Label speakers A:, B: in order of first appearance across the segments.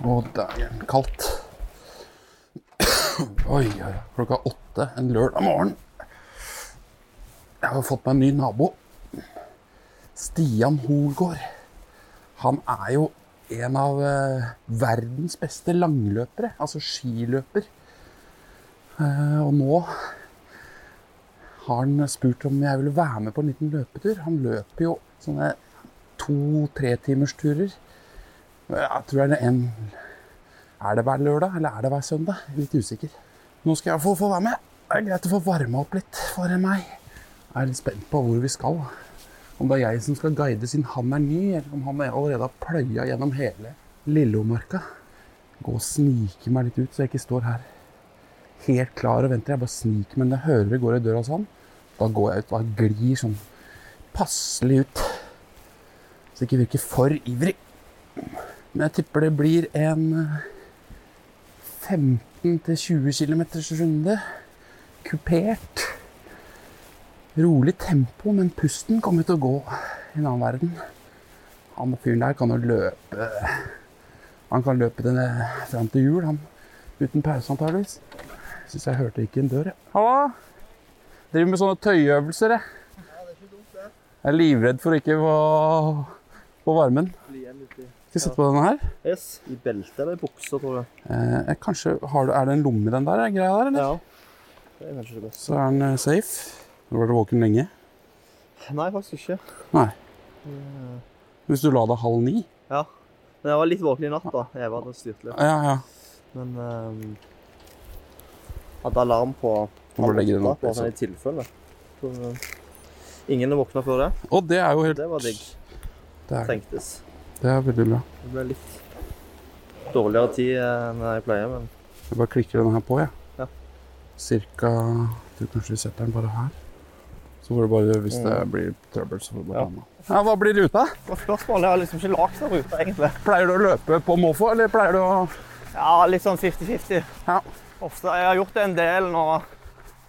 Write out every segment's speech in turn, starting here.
A: Å, dæven kaldt. Oi, oi, klokka åtte en lørdag morgen. Jeg har fått meg en ny nabo. Stian Holgaard. Han er jo en av eh, verdens beste langløpere, altså skiløper. Eh, og nå har han spurt om jeg ville være med på en liten løpetur. Han løper jo sånne to-tre timers turer. Jeg tror det er en Er det hver lørdag, eller er det hver søndag? Jeg er Litt usikker. Nå skal jeg få, få være med. Det er greit å få varma opp litt for meg. Jeg er litt spent på hvor vi skal. Om det er jeg som skal guide siden han er ny, eller om han allerede har pløya gjennom hele Lillomarka. Gå og snike meg litt ut, så jeg ikke står her helt klar og venter. Jeg bare sniker, men jeg hører det går i døra sånn. Da går jeg ut og glir sånn passelig ut. Så jeg ikke virker for ivrig. Men jeg tipper det blir en eh, 15-20 km runde. Kupert. Rolig tempo, men pusten kommer til å gå i en annen verden. Han fyren der kan jo løpe Han kan løpe denne fram til jul, han. Uten pause, antageligvis. Syns jeg hørte ikke en dør, jeg. Hallo! Driver med sånne tøyøvelser, jeg. Jeg er livredd for å ikke få, få varmen. Skal jeg sette på denne her?
B: Yes. I belte eller i buksa, tror jeg.
A: Eh, jeg kanskje, har du, er det en lomme i den der eh, greia der, eller?
B: Ja. Det er kanskje det beste.
A: Så er den eh, safe. Du har vært våken lenge.
B: Nei, faktisk ikke.
A: Nei.
B: Mm.
A: Hvis du la deg halv ni?
B: Ja. Men jeg var litt våken i natt, da. Jeg var styrt litt.
A: Ja, ja.
B: Men ehm, hadde alarm på
A: Må bare legge den opp, liksom?
B: Bare sånn i tilfelle. Så, eh, ingen våkna før det.
A: Og det er jo helt
B: Det var digg,
A: Det er,
B: tenktes.
A: det er veldig bra.
B: Det ble litt dårligere tid eh, enn jeg pleier, men
A: Jeg bare klikker denne her på, jeg.
B: Ja.
A: Cirka Jeg tror kanskje vi setter den bare her. Så får du bare, hvis det blir trøbbel, så får du bare
B: Mm.
A: ta den av.
B: Ja.
A: Ja, hva blir ruta?
B: Det var spørsmålet. Jeg har liksom ikke lagd den ruta, egentlig.
A: Pleier du å løpe på måfå, eller pleier du å
B: Ja, litt sånn 50-50.
A: Ja.
B: Ofte, jeg har gjort det en del nå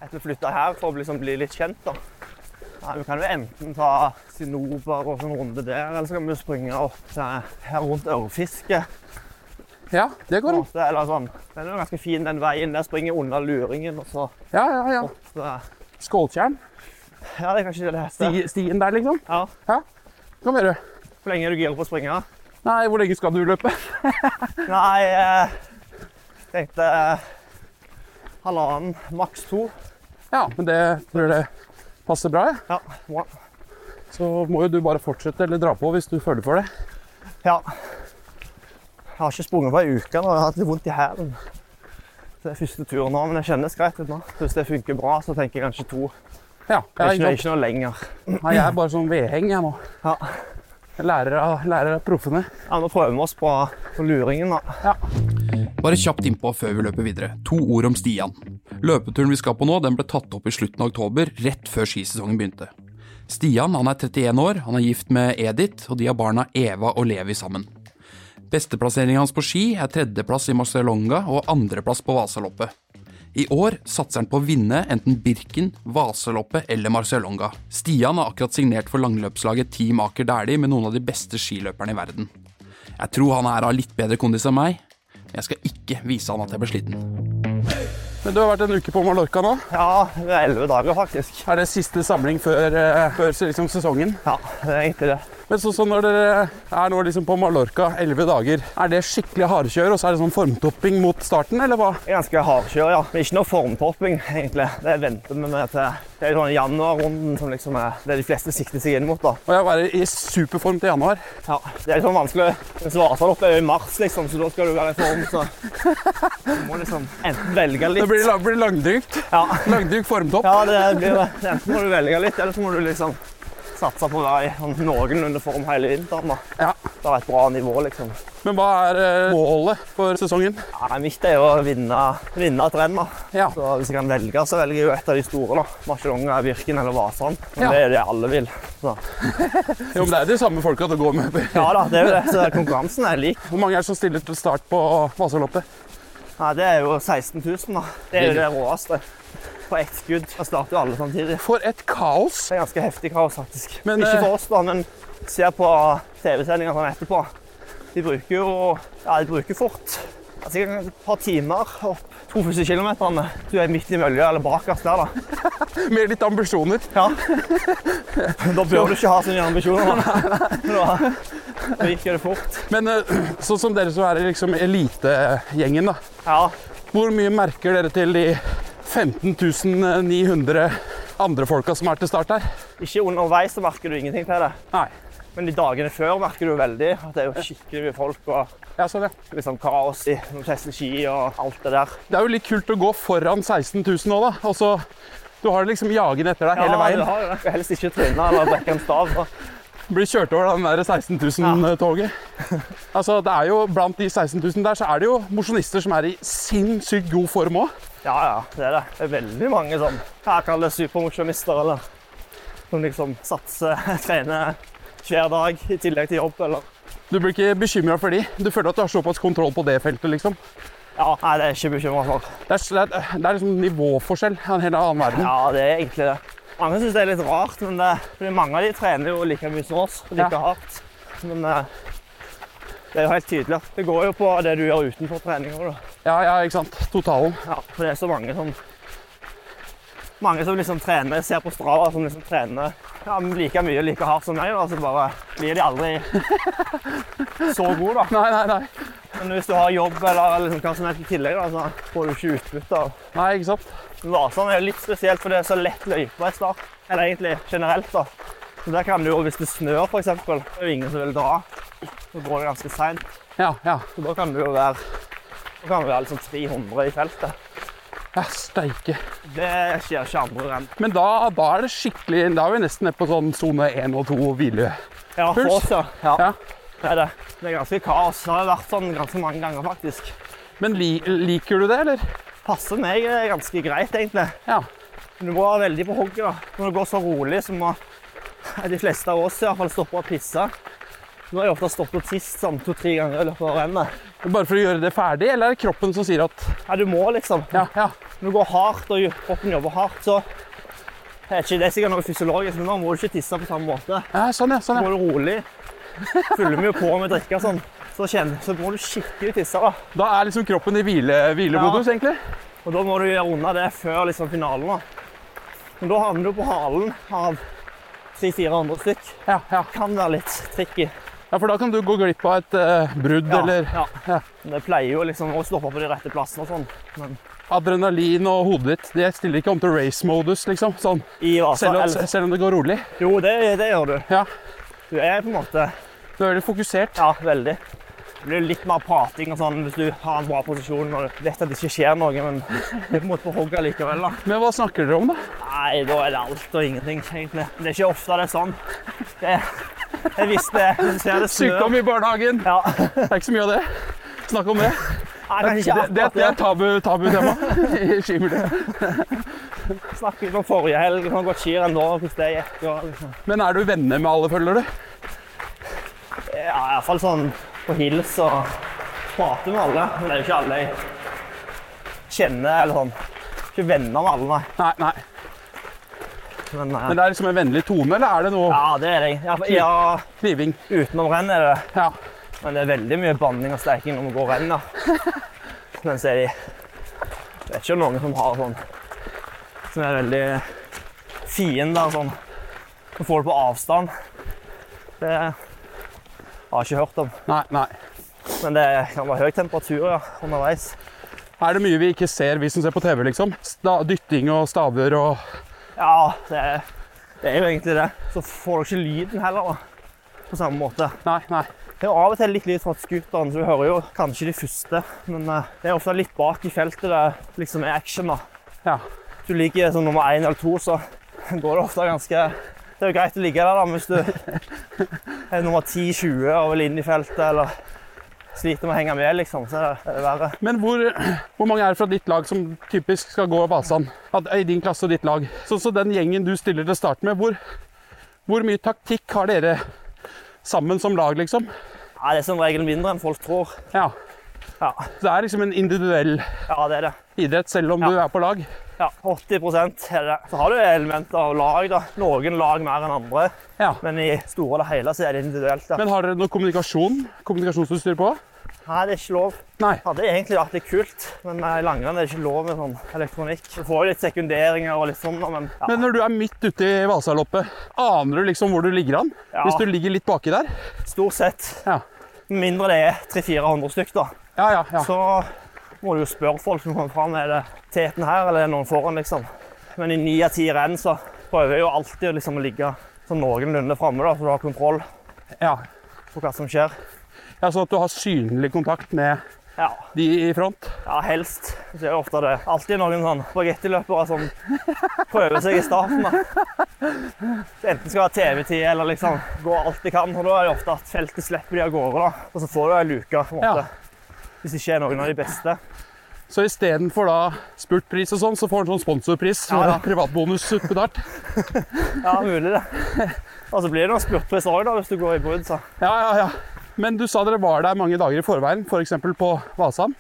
B: etter å flytte her for å liksom bli litt kjent. da. Ja, vi kan jo enten ta sinoper og en runde der, eller så kan vi springe opp til her rundt Ørfiske.
A: Ja, det
B: på
A: går
B: en
A: an.
B: måte, eller sånn. Den er jo ganske fin, den veien. Der springer jeg unna luringen. og så...
A: Ja, ja, ja.
B: så
A: Skåltjern.
B: ja, det er kanskje det det heter.
A: Sti, stien der, liksom.
B: Ja.
A: Kom her, du.
B: Hvor lenge er du gira på å springe?
A: Nei, hvor lenge skal du løpe?
B: Nei, eh, tenkte eh, halvannen, maks to.
A: Ja, men det tror jeg det passer bra, jeg.
B: Ja, bra.
A: Så må jo du bare fortsette eller dra på hvis du føler for det.
B: Ja. Jeg har ikke sprunget på ei uke nå. Jeg har hatt litt vondt i hælen. Så Det er første tur nå, men det kjennes greit ut nå. Så Hvis det funker bra, så tenker jeg kanskje to.
A: Ja, jeg,
B: Det er ikke, det
A: er
B: er ikke noe lenger.
A: ikke- Nei, jeg er bare sånn vedheng, jeg nå.
B: Ja.
A: Jeg Lærer av, lærer av proffene.
B: Ja, nå prøver vi oss på, på luringen, da.
A: Bare kjapt innpå før vi løper videre. To ord om Stian. Løpeturen vi skal på nå, den ble tatt opp i slutten av oktober, rett før skisesongen begynte. Stian han er 31 år, han er gift med Edith, og de har barna Eva og Levi sammen. Besteplasseringen hans på ski er tredjeplass i Marcialonga og andreplass på Vasaloppet. I år satser han på å vinne enten Birken, Vasaloppet eller Marcialonga. Stian har akkurat signert for langløpslaget Team Aker Dæhlie med noen av de beste skiløperne i verden. Jeg tror han her har litt bedre kondis enn meg, men jeg skal ikke vise han at jeg ble sliten. Men du har vært en uke på Mallorca nå.
B: Ja, det er elleve dager, faktisk.
A: Er det siste samling før, eh, før liksom sesongen?
B: Ja, det er egentlig det.
A: Men så, så når dere er nå liksom på Mallorca elleve dager, er det skikkelig hardkjør, og så er det sånn formtopping mot starten, eller hva?
B: Det er Ganske hardkjør, ja. Men ikke noe formtopping, egentlig. Det venter vi med til Det er sånn januarrunden som liksom er det de fleste sikter seg inn mot, da.
A: Og jeg være i superform til januar.
B: Ja, det er litt sånn vanskelig. Mens Vasaloppet er jo i mars, liksom, så da skal du være i form. Så du må liksom enten velge
A: Det
B: litt
A: blir, la- blir langdrygt.
B: ja.
A: Langdryg formtopp.
B: ja, det blir det. Enten må du velge litt, eller så må du liksom satse på å være i sånn noenlunde form hele vinteren. da.
A: Ja.
B: Det er et bra nivå, liksom.
A: Men hva er eh, målet for sesongen?
B: Nei, mitt er jo å vinne, vinne Trenna.
A: Ja.
B: Så hvis jeg kan velge, så velger jeg jo et av de store. da. Marcialonga, Virken eller Vasan. Men
A: Ja.
B: Det er det alle vil. Så.
A: Jo, men det er de samme folka det går med.
B: Ja da, det er jo det. Så konkurransen er lik.
A: Hvor mange er det som stiller til start på Vasaloppet?
B: Ja, det er jo 16 000, da. Det er jo det råeste. På ett skudd. Da starter jo alle samtidig.
A: For et kaos!
B: Det er ganske heftig kaos, faktisk.
A: Men,
B: Ikke
A: eh,
B: for oss, da, men ser på TV-sendinger sånn etterpå. De bruker jo Ja, de bruker fort. Altså, sikkert et par timer opp 2000 km. Du er midt i mølja eller bakerst der, da.
A: Med litt ambisjoner.
B: Ja. da bør du ikke ha så mye ambisjoner. Da. Men Da, da gikk jo det fort.
A: Men eh, sånn som dere som er i liksom elitegjengen, da.
B: Ja.
A: Hvor mye merker dere til de 15.900 andre folka som er til start her?
B: Ikke underveis så merker du ingenting til det.
A: Nei.
B: Men de dagene før merker du veldig at det er jo skikkelig mye folk og
A: Ja, sånn, ja.
B: liksom kaos i når du tester ski og alt det der.
A: Det er jo litt kult å gå foran 16.000 nå, da. Og så Du har det liksom jagende etter deg hele veien.
B: Ja, du har jo det. Skal helst ikke tryne eller brekke en stav. da.
A: Blir kjørt over av den der 16.000-toget. Altså, det er jo Blant de 16.000 der, så er det jo mosjonister som er i sinnssykt god form òg.
B: Ja, ja, det er det. Det er veldig mange sånn Jeg kaller det supermosjonister, eller som liksom satser, trener hver dag i tillegg til jobb, eller
A: Du blir ikke bekymra for de. Du føler at du har såpass kontroll på det feltet, liksom.
B: Ja, nei, det er jeg ikke bekymra for.
A: Det er, det er, det er liksom nivåforskjell av en helt annen verden.
B: Ja, det er egentlig det. Mange syns det er litt rart, men det, fordi mange av de trener jo like mye som oss, og like
A: Ja.
B: hardt. Men eh, det er jo helt tydelig at det går jo på det du gjør utenfor trening òg, da.
A: Ja, ja, ikke sant. Totalen.
B: Ja, for det er så mange som Mange som liksom trener, ser på Strava som liksom trener ja, men like mye og like hardt som meg, da, så bare blir de aldri så gode, da.
A: Nei, nei, nei.
B: Men hvis du har jobb eller liksom hva som helst i tillegg, da, så får du ikke utbytte av
A: Nei, ikke sant.
B: Men Vasan er jo litt spesielt, for det er så lett løype i start. Eller egentlig generelt, da. Så der kan du jo, hvis det snør, for eksempel, det er jo ingen som vil dra. Så går det ganske seint.
A: Ja, ja.
B: Så da kan du jo være Da kan du være liksom 300 i feltet.
A: Ja, steike.
B: Det skjer ikke andre renn.
A: Men da, da er det skikkelig Da er vi nesten nede på sånn sone 1 og 2 og hvile.
B: Ja,
A: Puls.
B: for oss, ja. ja.
A: Ja.
B: Det er det. Det er ganske kaos. Det har vært sånn ganske mange ganger, faktisk.
A: Men li, liker du det, eller?
B: Passer meg eh, ganske greit, egentlig.
A: Ja.
B: Men Du må være veldig på hogget. da. Når det går så rolig, så må de fleste av oss i hvert fall stoppe å pisse. Nå har jeg ofte stoppet og tisset sånn to-tre ganger i løpet av rennet.
A: Bare for å gjøre det ferdig, eller er det kroppen som sier at
B: Ja, du må liksom.
A: Ja, ja.
B: Når du går hardt og kroppen jobber hardt, så det er ikke, det er sikkert noe fysiologisk, men da må du ikke tisse på samme måte.
A: ja sånn, ja. sånn
B: Da
A: ja.
B: går du rolig. Fyller vi jo på med drikke og sånn. Så, kjenner, så må du skikkelig tisse. da.
A: Da er liksom kroppen i hvile, hvilemodus, egentlig.
B: Og da må du gjøre unna det før liksom, finalen. Da. Men da havner du på halen av 300-400 stykk.
A: Ja, ja.
B: Kan være litt tricky.
A: ja, for da kan du gå glipp av et eh, brudd eller
B: ja.
A: ja.
B: Men Det pleier jo liksom å stoppe på de rette plassene og sånn. Men
A: adrenalin og hodet ditt. Det stiller ikke om til race-modus, liksom. Sånn.
B: i Vasa
A: Selv om,
B: eller-
A: selv om det går rolig.
B: Jo, det, det gjør du.
A: Ja.
B: Du er på en måte
A: Du er veldig fokusert.
B: Ja, veldig. Det blir litt mer prating og sånn hvis du har en bra posisjon og du vet at det ikke skjer noe, men du er på en måte på hogget likevel, da.
A: Men hva snakker dere om, da?
B: Nei, da er det alt og ingenting, egentlig. Men det er ikke ofte det er sånn. Det, jeg visste det. Du ser det snør.
A: Sykdom i barnehagen.
B: Ja.
A: Det er ikke så mye av det. Snakk om det.
B: Nei, kanskje
A: Det,
B: ikke
A: det,
B: akkurat
A: det
B: det.
A: er tabu, tabutema i skimiljøet.
B: Snakket om forrige helg, hvordan gått skirenn da, hvordan det gikk. Og liksom.
A: Men er du venner med alle, føler du?
B: Ja, i hvert fall sånn på hils og prate med alle. Men det er jo ikke alle jeg kjenner eller sånn. Ikke venner med alle, nei.
A: Nei, nei.
B: Men, eh,
A: Men det er liksom en vennlig tone, eller er det noe
B: ja, det er det. Ja, for- ja,
A: kniving?
B: utenom eh, renn er det det.
A: Ja.
B: Men det er veldig mye banning og steiking når vi går renn, da. Men så er de Det er ikke noen som har sånn Som er veldig fiender og sånn. Som får det på avstand. Det har jeg ikke hørt om.
A: Nei, nei.
B: Men det kan være høy temperatur ja, underveis.
A: Er det mye vi ikke ser, vi som ser på TV, liksom? Sta dytting og staver og
B: Ja, det er, det er jo egentlig det. Så får du ikke lyden heller, da. På samme måte.
A: Nei, nei.
B: Det er jo av og til litt lyd fra scooteren, så du hører jo kanskje de første. Men eh, det er ofte litt bak i feltet det liksom er action, da.
A: Ja.
B: Du ligger som nummer én eller to, så går det ofte ganske Det er jo greit å ligge der da, men hvis du er nummer 10-20 og vil inn i feltet, eller sliter med å henge med, liksom, så er det- er det verre.
A: Men hvor, hvor mange er det fra ditt lag som typisk skal gå Vasan? At- I din klasse og ditt lag. Så, så den gjengen du stiller til start med, hvor, hvor mye taktikk har dere sammen som lag, liksom?
B: Ja, det er som regel mindre enn folk tror.
A: Ja.
B: Ja,
A: Det er liksom en individuell
B: ja det er det.
A: idrett, selv om
B: Ja.
A: du er på lag.
B: Ja, 80 er det. Så har du elementer av lag, da. Noen lag mer enn andre,
A: Ja.
B: men i store og det hele så er det individuelt. Da.
A: Men har dere noe kommunikasjon? Kommunikasjonsutstyr på?
B: Nei, det er ikke lov.
A: Nei.
B: Hadde egentlig vært litt kult, men eh, i langrenn er det ikke lov med sånn elektronikk. Du får jo litt sekunderinger og litt sånn, da, men ja.
A: Men når du er midt ute i Vasaloppet, aner du liksom hvor du ligger an?
B: Ja.
A: Hvis du ligger litt baki der?
B: Stort sett.
A: Ja.
B: Med Mindre det er 300-400 stykk, da.
A: Ja, ja, ja.
B: Så må du jo spørre folk som kommer fram. Er det teten her, eller er det noen foran, liksom? Men i ni av ti renn så prøver jeg jo alltid å liksom ligge sånn noenlunde framme, da, så du har kontroll
A: ja.
B: på hva som skjer.
A: ja sånn at du har synlig kontakt med
B: Ja.
A: de i front?
B: Ja, helst. Så er det ofte det. Alltid noen sånn bagettiløpere som prøver seg i starten. Da. Så Enten skal det være TV-tid eller liksom gå alt de kan. Og da er det ofte at feltet slipper de av gårde. da. Og så får du ei luke, på en måte.
A: Ja.
B: Hvis det ikke er noen av de beste.
A: Så istedenfor da spurtpris og sånn, så får han sånn sponsorpris.
B: Ja, ja.
A: med Privatbonus utbetalt.
B: Ja, mulig det. Og så blir det noen spurtpris òg, da, hvis du går i brudd. Så.
A: Ja, ja, ja. Men du sa dere var der mange dager i forveien, f.eks. på Vasan.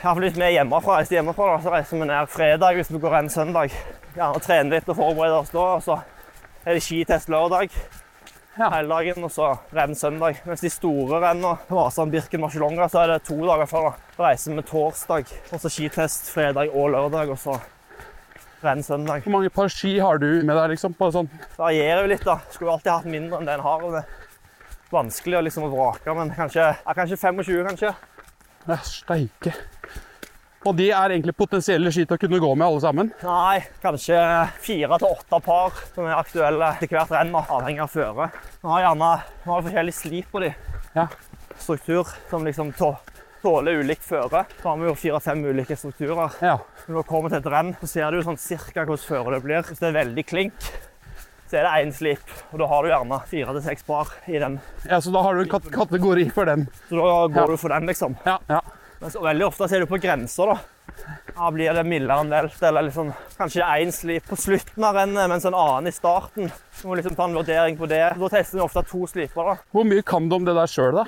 B: Ja, for hvis vi er hjemmefra, reiser hjemmefra, da, så reiser vi ned fredag hvis vi går en søndag. Gjerne trener litt og forbereder oss da, og så er det skitest lørdag
A: Ja.
B: hele dagen, og så renn søndag. Mens de store rennene, Vasan, Birken, Marcialonga, så er det to dager før. da. Da reiser vi torsdag, og så skitest fredag og lørdag, og så renn søndag.
A: Hvor mange par ski har du med deg liksom, på sånn?
B: Det varierer jo litt, da. Skulle jo alltid hatt mindre enn det en har. og det er Vanskelig å liksom vrake, men kanskje, ja, kanskje 25, kanskje.
A: Ja, steike. Og de er egentlig potensielle ski til å kunne gå med, alle sammen.
B: Nei, kanskje fire til åtte par som er aktuelle til hvert renn, da, avhengig av føre. Vi har gjerne vi har forskjellig slip på de.
A: Ja.
B: Struktur som liksom tå, tåler ulikt føre. Så har vi jo fire-fem ulike strukturer.
A: Ja.
B: Når du kommer til et renn, så ser du jo sånn cirka hvordan føre det blir. Hvis det er veldig klink, så er det én slip, og da har du gjerne fire til seks par i den.
A: ja, Så da har du en kat kategori for den.
B: Så da går
A: Ja.
B: du for den, liksom.
A: Ja, ja.
B: Men så veldig ofte ser du på grenser, da. Ja, blir det mildere enn delt, eller liksom, kanskje én slip på slutten av rennet, mens en annen i starten. Du må liksom ta en vurdering på det. Da tester vi ofte to sliper. da.
A: Hvor mye kan du om det der sjøl, da?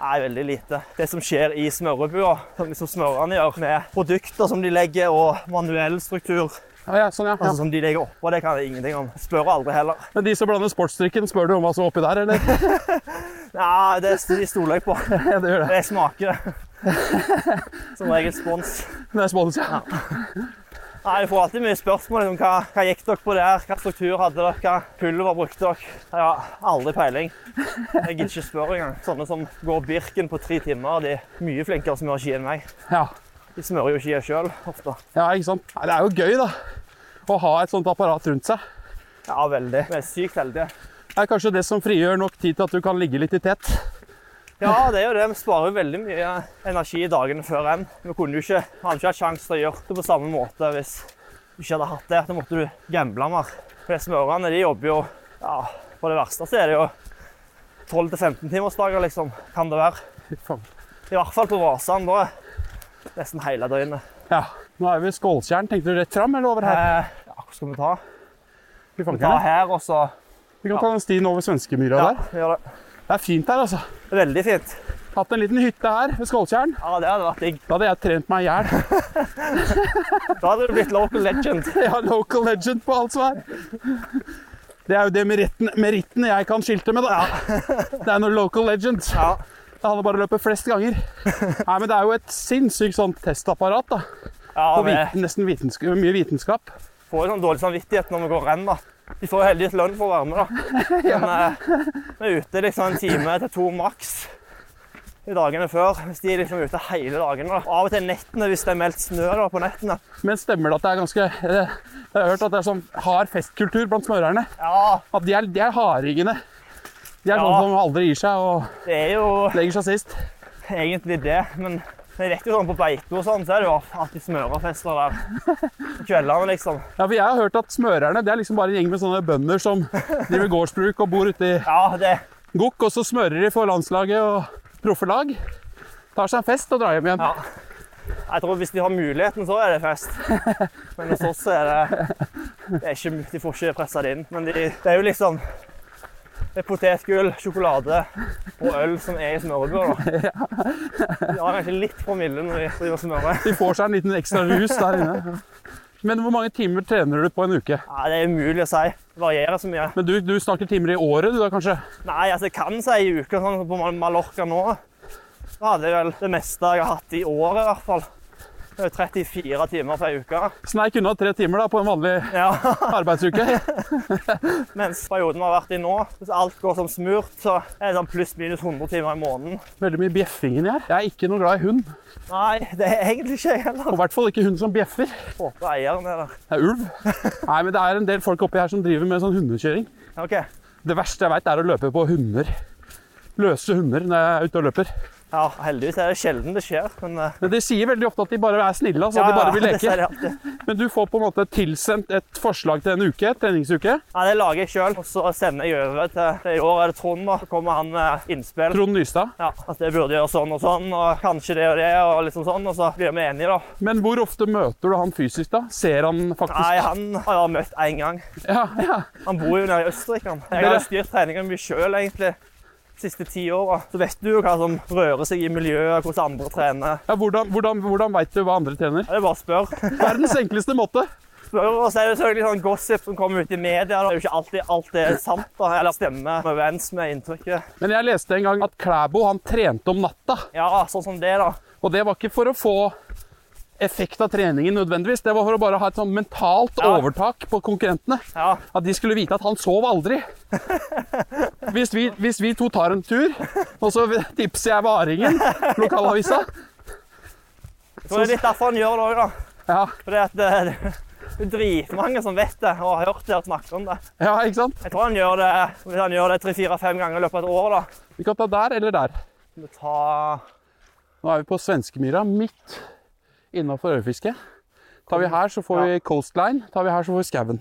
B: Nei, veldig lite. Det som skjer i smørebua, som liksom smørerne gjør, med produkter som de legger, og manuell struktur,
A: Ja, ja, sånn, ja.
B: altså
A: ja.
B: som de legger oppå, det kan jeg ingenting om. Spør aldri heller.
A: Men de som blander sportsdrikken, spør du om hva som er oppi der, eller?
B: Ja, det de stoler jeg på.
A: Ja, det gjør det.
B: Det smaker det. Som regel spons.
A: Det er spons, ja.
B: Nei, Jeg får alltid mye spørsmål om hva, hva gikk dere på der, hva struktur hadde dere, hva pulver brukte dere. Jeg har aldri peiling. Jeg gidder ikke spørre engang. Sånne som går Birken på tre timer, de er mye flinkere til å smøre ski enn meg.
A: ja.
B: De smører jo skier sjøl ofte.
A: Ja, ikke sant? Nei, Det er jo gøy, da. Å ha et sånt apparat rundt seg.
B: Ja, veldig. Vi er sykt heldige.
A: Det er kanskje det som frigjør nok tid til at du kan ligge litt i tet.
B: Ja, det er jo det. Vi sparer jo veldig mye energi i dagene før enn. Vi kunne jo ikke, hadde ikke hatt sjanse til å gjøre det på samme måte hvis du ikke hadde hatt det. Da måtte du gamble mer. For de smørerne de jobber jo ja, På det verste så er det jo 12-15 timersdager, liksom. Kan det være.
A: Fy faen.
B: I hvert fall på Vasan. Da er det nesten hele døgnet.
A: Ja, Nå er vi ved Skåltjern. Tenkte du rett fram eller over her?
B: Eh, ja, hvor skal vi ta?
A: Fy
B: Vi
A: fanken,
B: tar
A: ja.
B: her, og så
A: Vi kan ta den stien over Svenskemyra
B: Ja,
A: der.
B: vi gjør det.
A: Det er fint her, altså.
B: Veldig fint.
A: Hatt en liten hytte her ved Skåltjern.
B: Ja, det hadde vært digg.
A: Da hadde jeg trent meg i hjel.
B: Da hadde du blitt local legend.
A: Jeg har local legend på alt som er. Det er jo det meritten, meritten jeg kan skilte med, da. Det er noe local legend.
B: Ja.
A: Det handler bare om å løpe flest ganger. Nei, men det er jo et sinnssykt sånn testapparat, da.
B: ja
A: Og
B: vi
A: viten, nesten vitensk mye vitenskap.
B: får jo sånn dårlig samvittighet når vi går renn, da. De får jo heldigvis lønn for å være med, da. Men eh, vi er ute liksom en time til to maks i dagene før. Hvis de er liksom ute hele dagene. da. Av og til nettene, hvis det er meldt snø da, på nettene.
A: Men stemmer det at det er ganske eh, Jeg har hørt at det er sånn hard festkultur blant smørerne.
B: Ja,
A: At de er, de er hardingene. De er
B: Ja.
A: sånne som aldri gir seg og
B: det er jo
A: legger seg sist.
B: egentlig det, men Men jeg vet jo sånn på beite og sånn, så er det jo alltid smørefester der på kveldene, liksom.
A: Ja, for jeg har hørt at smørerne det er liksom bare en gjeng med sånne bønder som driver gårdsbruk og bor ute i
B: Ja, det
A: gokk, og så smører de for landslaget og proffelag. Tar seg en fest og drar hjem igjen.
B: Ja. Jeg tror hvis de har muligheten, så er det fest. Men hos oss er det, det er ikke, De får ikke pressa det inn. Men de, det er jo liksom det er potetgull, sjokolade og øl som er i smørbrød. da. De har kanskje litt promille når de driver og smører.
A: De får seg en liten ekstra rus der inne. Men hvor mange timer trener du på en uke?
B: Nei, det er umulig å si. Det varierer så mye.
A: Men du, du snakker timer i året, du da kanskje?
B: Nei, altså jeg kan si i uka sånn på Mal- Mallorca nå. Så hadde jeg vel det meste jeg har hatt i året, i hvert fall. Det er jo 34 timer per uke.
A: Sneik unna tre timer da på en vanlig
B: Ja,
A: arbeidsuke.
B: Mens perioden vi har vært i nå, hvis alt går som smurt, så er det sånn pluss-minus 100 timer i måneden.
A: Veldig mye bjeffing inni her. Jeg er ikke noe glad i hund.
B: Nei, det er egentlig ikke jeg heller.
A: Og i hvert fall ikke hund som bjeffer.
B: Håper eieren er der.
A: Det er ulv. Nei, men det er en del folk oppi her som driver med sånn hundekjøring.
B: OK.
A: Det verste jeg veit, er å løpe på hunder. Løse hunder når jeg er ute og løper.
B: Ja, heldigvis er det sjelden det skjer, men eh,
A: Men De sier veldig ofte at de bare er snille, altså.
B: ja,
A: at de bare vil
B: ja, det
A: leke.
B: sier de alltid.
A: Men du får på en måte tilsendt et forslag til en uke, treningsuke.
B: Nei, det lager jeg sjøl, og så sender jeg over til I år er det Trond, da. Så kommer han med innspill.
A: Trond Nystad.
B: Ja, at det burde gjøre sånn og sånn, og kanskje det og det, og liksom sånn. Og så blir vi enige, da.
A: Men hvor ofte møter du han fysisk, da? Ser han faktisk
B: Nei, han har jeg møtt én gang.
A: Ja, ja.
B: Han bor jo nede i Østerrike. han. Jeg har jo styrt treninga mye sjøl, egentlig. De siste ti åra. Så vet du jo hva som rører seg i miljøet, hvordan andre trener.
A: ja hvordan hvordan, hvordan veit du hva andre trener?
B: Ja, Det er bare å spørre.
A: Verdens enkleste måte.
B: Spør, og så er det selvfølgelig sånn gossip som kommer ut i media. Da. Det er jo ikke alltid alt er sant, da. Eller stemmer overens med inntrykket.
A: Men jeg leste en gang at Klæbo han trente om natta.
B: Ja, sånn som det, da.
A: Og det var ikke for å få effekt av treningen nødvendigvis. Det var for å bare ha et sånn mentalt
B: Ja.
A: overtak på konkurrentene.
B: Ja,
A: At de skulle vite at han sov aldri. Hvis vi, hvis vi to tar en tur, og så tipser jeg Varingen, lokalavisa
B: jeg tror det er litt derfor han gjør det òg, da.
A: ja,
B: Fordi at eh, det, det er dritmange som vet det, og har hørt det og snakket om det.
A: ja, ikke sant?
B: Jeg tror han gjør det hvis han gjør det tre-fire-fem ganger i løpet av et år. da.
A: Vi kan ta der eller der.
B: Skal vi ta
A: Nå er vi på Svenskemyra, midt innafor ørrefiske. Tar vi her, så får vi coastline. Tar vi her, så får vi skauen.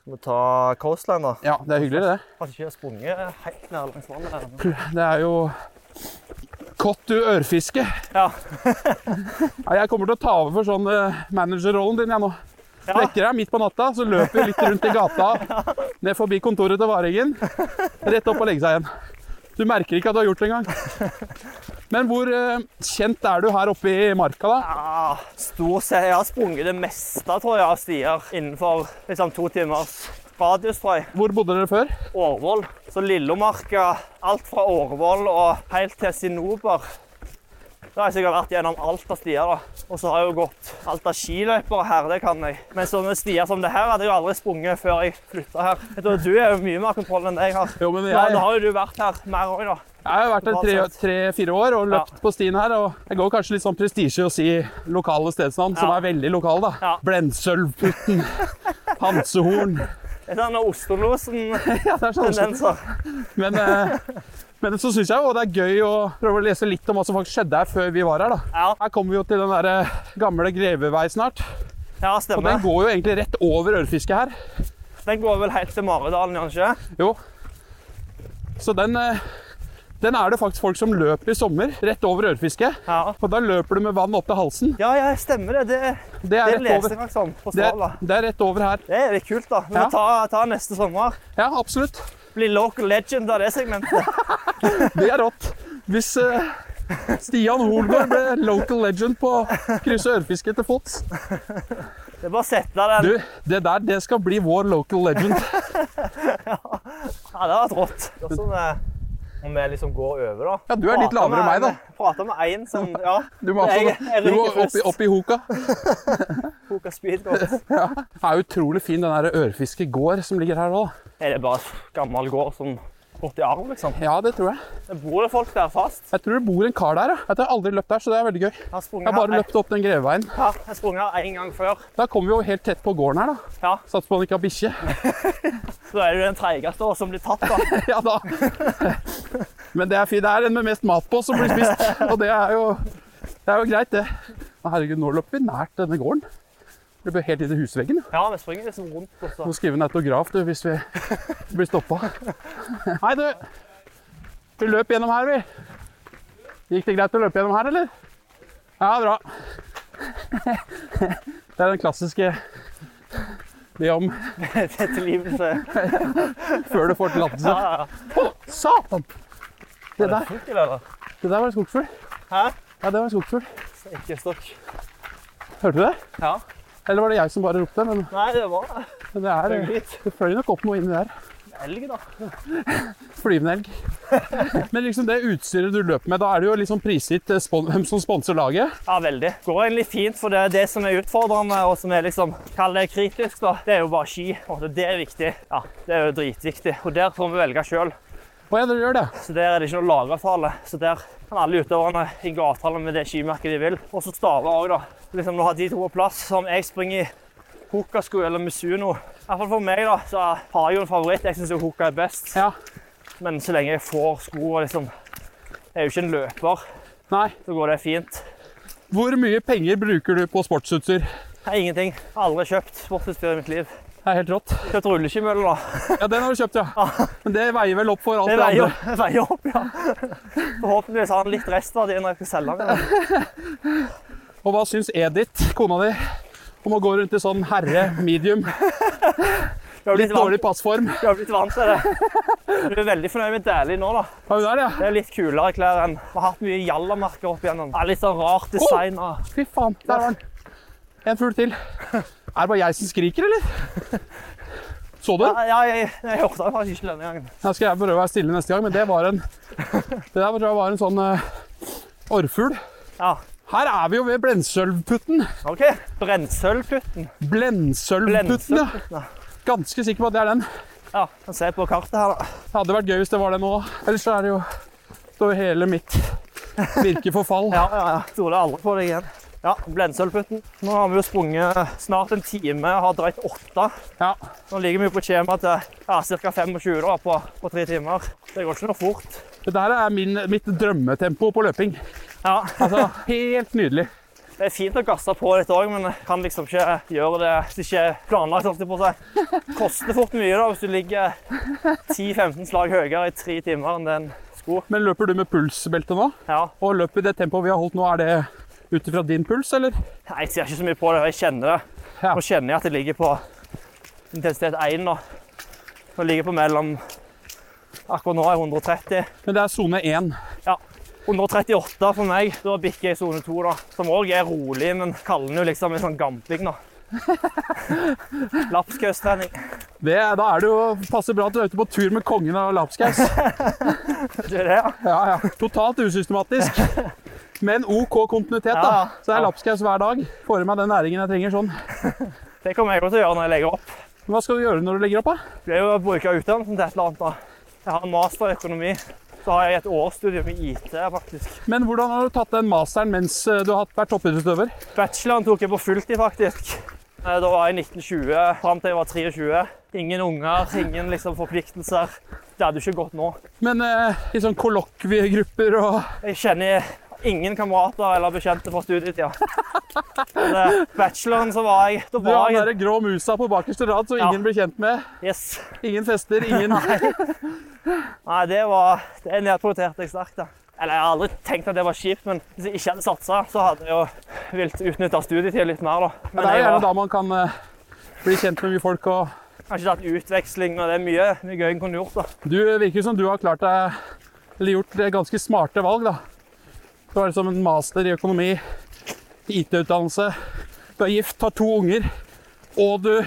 B: Skal vi ta Coastline, da?
A: Ja, det er hyggeligere, det.
B: At ikke jeg har sprunget helt ned langs vannet. her.
A: Det er jo Kottu ørfiske.
B: Ja.
A: Nei, Jeg kommer til å ta over for sånn eh, managerrollen din jeg nå.
B: Ja.
A: Vekker deg midt på natta, så løper vi litt rundt i gata, ned forbi kontoret til Varingen, rett opp og legge seg igjen. Du merker ikke at du har gjort det engang. Men hvor eh, kjent er du her oppe i marka, da?
B: Ja, Ah, stort sett. Jeg har sprunget det meste tror jeg, av stier innenfor liksom, to timers radius, tror jeg.
A: Hvor bodde dere før?
B: Årvoll. Så Lillomarka, alt fra Årvoll og helt til Sinober. Da har jeg sikkert vært gjennom alt av stier. da. Og så har jeg jo gått alt av skiløyper her, det kan jeg. Men sånne stier som det her hadde jeg jo aldri sprunget før jeg flytta her. Jeg tror du er jo mye mer kontroll enn det jeg har.
A: Jo, men
B: Ja,
A: jeg,
B: Nå
A: jeg
B: har jo du vært her mer òg, da.
A: har jo vært her tre-fire år og løpt på stien her. Og jeg går kanskje litt sånn prestisje å si lokale stedsnavn, som
B: Ja.
A: er veldig lokale, da.
B: Ja.
A: Blendsølvputten, Hansehorn.
B: Det er sånn Oslo-losen-tendenser.
A: Ja, det er sånn Men, eh, men så syns jeg jo det er gøy å prøve å lese litt om hva som faktisk skjedde her før vi var her. da.
B: Ja,
A: Her kommer vi jo til den der eh, gamle Grevevei snart.
B: ja,
A: Og den
B: stemmer.
A: går jo egentlig rett over ørfisket her.
B: Den går vel helt til Maridalen, gjør den ikke?
A: Jo. Så den, eh, den er det faktisk folk som løper i sommer, rett over ørfisket.
B: Ja.
A: Og da løper du med vann opp til halsen.
B: Ja, ja, stemmer det. Det,
A: Det
B: det
A: er rett
B: leser
A: over,
B: jeg faktisk om på
A: det
B: Sval. da.
A: er, det er rett over her.
B: Det er litt kult, da. Vi
A: Ja.
B: må ta, ta neste sommer.
A: Ja, absolutt.
B: Bli local legend av det segmentet.
A: Det er rått. Hvis eh, Stian Holgaard ble local legend på å krysse ørfiske til fots
B: Det er bare å sette den.
A: Du, det der det skal bli vår local legend.
B: Ja, det hadde vært rått. Det er sånn, eh, Om vi liksom går over, da.
A: Ja, du er litt lavere enn meg, da.
B: Prata med én som Ja,
A: Du må, altså,
B: Jeg- jeg
A: du må
B: ryker
A: opp, i,
B: først.
A: opp i hoka.
B: koka speedgoat.
A: Det er utrolig fin den der ørfiske gård som ligger her òg.
B: Er det bare en gammel gård som gått i arv, liksom?
A: Ja, det tror jeg.
B: Det bor det folk der fast?
A: Jeg tror det bor en kar der. Ja. Jeg tror jeg aldri løpt der, så det er veldig gøy. Jeg
B: Jeg har sprunget
A: har bare
B: her-
A: løpt opp den greveveien.
B: Ja, jeg har sprunget her én gang før.
A: Da kommer vi jo helt tett på gården her, da.
B: Ja,
A: Satser på han ikke har bikkje.
B: Så er det jo den treigeste også som blir tatt, da.
A: Ja da. Men det er fint. Det er den med mest mat på som blir spist, og det er jo Det er jo greit, det. Men herregud, nå løper vi nært denne gården. Det blir helt inn i husveggen.
B: Ja, vi springer liksom rundt, og så
A: Må skrive en autograf du, hvis vi blir stoppa. Hei, du. Vi løp gjennom her, vi. Gikk det greit å løpe gjennom her, eller? Ja, bra. Det er den klassiske det om
B: tilgivelse.
A: før du får tillatelse.
B: Ja, ja, ja.
A: Å, satan! Det
B: Er det
A: der,
B: fugl, eller?
A: det der var en skogsfugl.
B: Hæ?
A: Ja, det var en skogsfugl.
B: Steikestokk.
A: Hørte du det?
B: Ja.
A: Eller var det jeg som bare ropte? Men
B: Nei, det var det.
A: men det, er,
B: Litt
A: det fløy nok opp noe inni der.
B: elg, da.
A: Flyvende elg. Men liksom det utstyret du løper med, da er det jo liksom prisgitt eh, spon hvem som sponser laget.
B: Ja, veldig. Det går egentlig fint, for det, det som er utfordrende, og som er liksom, kall det kritisk, da, det er jo bare ski. Og det er viktig. Ja, det er jo dritviktig. Og der får vi velge sjøl.
A: Å ja, dere gjør det?
B: Så der er det ikke noe lagavtale. Så der kan alle utøverne inngå avtale med det skimerket de vil. Og så staver òg, da. Liksom Nå har de to på plass. Så om jeg springer i Hokasko eller Mizuno Iallfall for meg, da, så har jeg jo en favoritt. Jeg syns Hoka er best.
A: Ja.
B: Men så lenge jeg får sko og liksom Jeg er jo ikke en løper,
A: Nei.
B: så går det fint.
A: Hvor mye penger bruker du på sportsutstyr?
B: Nei, Ingenting. Aldri kjøpt sportsutstyr i mitt liv.
A: Det er helt rått.
B: Kjøpt rulleskimølle, da.
A: Ja, den har du kjøpt, ja. Men det veier vel opp for alt
B: Ah. Det
A: det,
B: veier,
A: andre.
B: det veier opp, ja. Forhåpentligvis har den litt restverdi når jeg skal selge den.
A: Og hva syns Edith, kona di, om å gå rundt i sånn herre medium,
B: Jeg har blitt
A: litt dårlig
B: vant,
A: passform?
B: jeg har blitt vant til det. Du er veldig fornøyd med Dæhlie nå, da.
A: Ja, hun er det, ja.
B: Det er litt kulere klær enn Vi har hatt mye jallamerker opp igjennom. Det er litt sånn rart design. og-
A: Fy faen, der var den. En fugl til. Er det bare jeg som skriker, eller? Så du?
B: Ja, ja, jeg, jeg hørte det faktisk ikke denne gangen.
A: Da skal jeg prøve å være stille neste gang, men det var en Det der tror jeg var en sånn uh, orrfugl.
B: Ja,
A: Her er vi jo ved Blensølvputten.
B: OK. Brennsølvputten.
A: Blensølvputten, ja.
B: Blendsølvputten, ja.
A: Ganske sikker på at det er den.
B: Ja, kan se på kartet her, da.
A: Det hadde vært gøy hvis det var det nå. Ellers så er det jo står jo hele mitt virke for fall.
B: Ja, ja, ja. Stoler aldri på deg igjen. Ja, Blendsølvputten. Nå har vi jo sprunget snart en time, har drøyt åtte.
A: Ja.
B: Nå ligger vi på skjema til ja, ca. 25 da, på, på tre timer. Det går ikke noe fort.
A: Det der er min, mitt drømmetempo på løping.
B: Ja,
A: Altså, helt nydelig.
B: Det er fint å gasse på litt òg, men jeg kan liksom ikke gjøre det hvis det ikke er planlagt. holdt jeg på seg. Koster fort mye da, hvis du ligger 10-15 slag høyere i tre timer enn det en sko.
A: Men løper du med pulsbelte nå?
B: Ja,
A: Og løper i det tempoet vi har holdt nå, er det ut ifra din puls, eller?
B: Nei, Jeg ser ikke så mye på det. Jeg kjenner det.
A: Ja.
B: Nå kjenner jeg at jeg ligger på intensitet 1. Nå, nå ligger jeg på mellom Akkurat nå er jeg 130.
A: Men det er sone én.
B: 138 for meg. Da bikker jeg sone 2, da. Som òg er rolig, men kaller den jo liksom en sånn gamping, da. Lapskaustrening.
A: Det, da er det jo passer bra at du er ute på tur med kongen av lapskaus.
B: Det er det, ja.
A: Ja, ja. Totalt usystematisk. Men OK kontinuitet,
B: Ja, ja.
A: da. Så det er
B: Ja.
A: lapskaus hver dag. Får i meg den næringen jeg trenger sånn.
B: Det kommer jeg også til å gjøre når jeg legger opp.
A: Men Hva skal du gjøre når du legger opp, da?
B: Det blir jo å bruke utdannelsen til et eller annet. da. Jeg har en master i økonomi. Så har jeg et årsstudium i IT, faktisk.
A: Men hvordan har du tatt den masteren mens eh, du har hatt- vært toppidrettsutøver?
B: Bacheloren tok jeg på fulltid, faktisk. Eh, Da var jeg 1920, fram til jeg var 23. Ingen unger, ingen liksom forpliktelser. Det hadde jo ikke gått nå.
A: Men eh, i sånn kollokviegrupper og
B: Jeg kjenner ingen kamerater eller bekjente fra studietida. Men, eh, Bacheloren så var jeg Da
A: Du har
B: var
A: den
B: jeg
A: der grå musa på bakerste rad som
B: Ja.
A: ingen blir kjent med.
B: Yes.
A: Ingen fester, ingen
B: Nei, det var Det nedprioriterte jeg sterkt, da. Eller jeg har aldri tenkt at det var kjipt, men hvis jeg ikke hadde satsa, så hadde jeg jo villet utnytta studietida litt mer, da.
A: Det
B: Men
A: er jo
B: jeg
A: gjerne
B: har
A: da man kan eh, bli kjent med mye folk. og
B: kanskje tatt utveksling, og det er mye, mye gøy en kunne gjort, da.
A: Du virker som du har klart deg Eller gjort eh, ganske smarte valg, da. Du har liksom en master i økonomi, IT-utdannelse, du er gift, har to unger, og du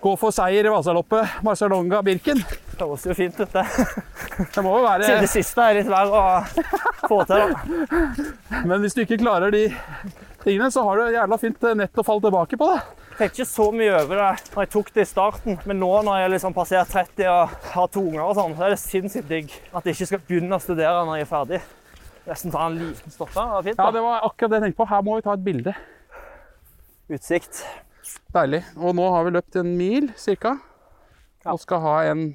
A: går for seier i Vasaloppet, Marcialonga, Birken.
B: Det høres jo fint ut, det.
A: Det må jo være
B: Siden det siste er litt verre å få til, da.
A: Men hvis du ikke klarer de tingene, så har du et jævla fint eh, nett å falle tilbake på, da.
B: Jeg tenkte ikke så mye over det når jeg tok det i starten, men nå når jeg liksom passert 30 og har to unger og sånn, så er det sinnssykt digg at jeg ikke skal begynne å studere når jeg er ferdig. Nesten ta en liten stopp her. Det var fint,
A: Ja,
B: da.
A: det var akkurat det jeg tenkte på. Her må vi ta et bilde.
B: Utsikt.
A: Deilig. Og nå har vi løpt en mil cirka.
B: Ja.
A: Og skal ha en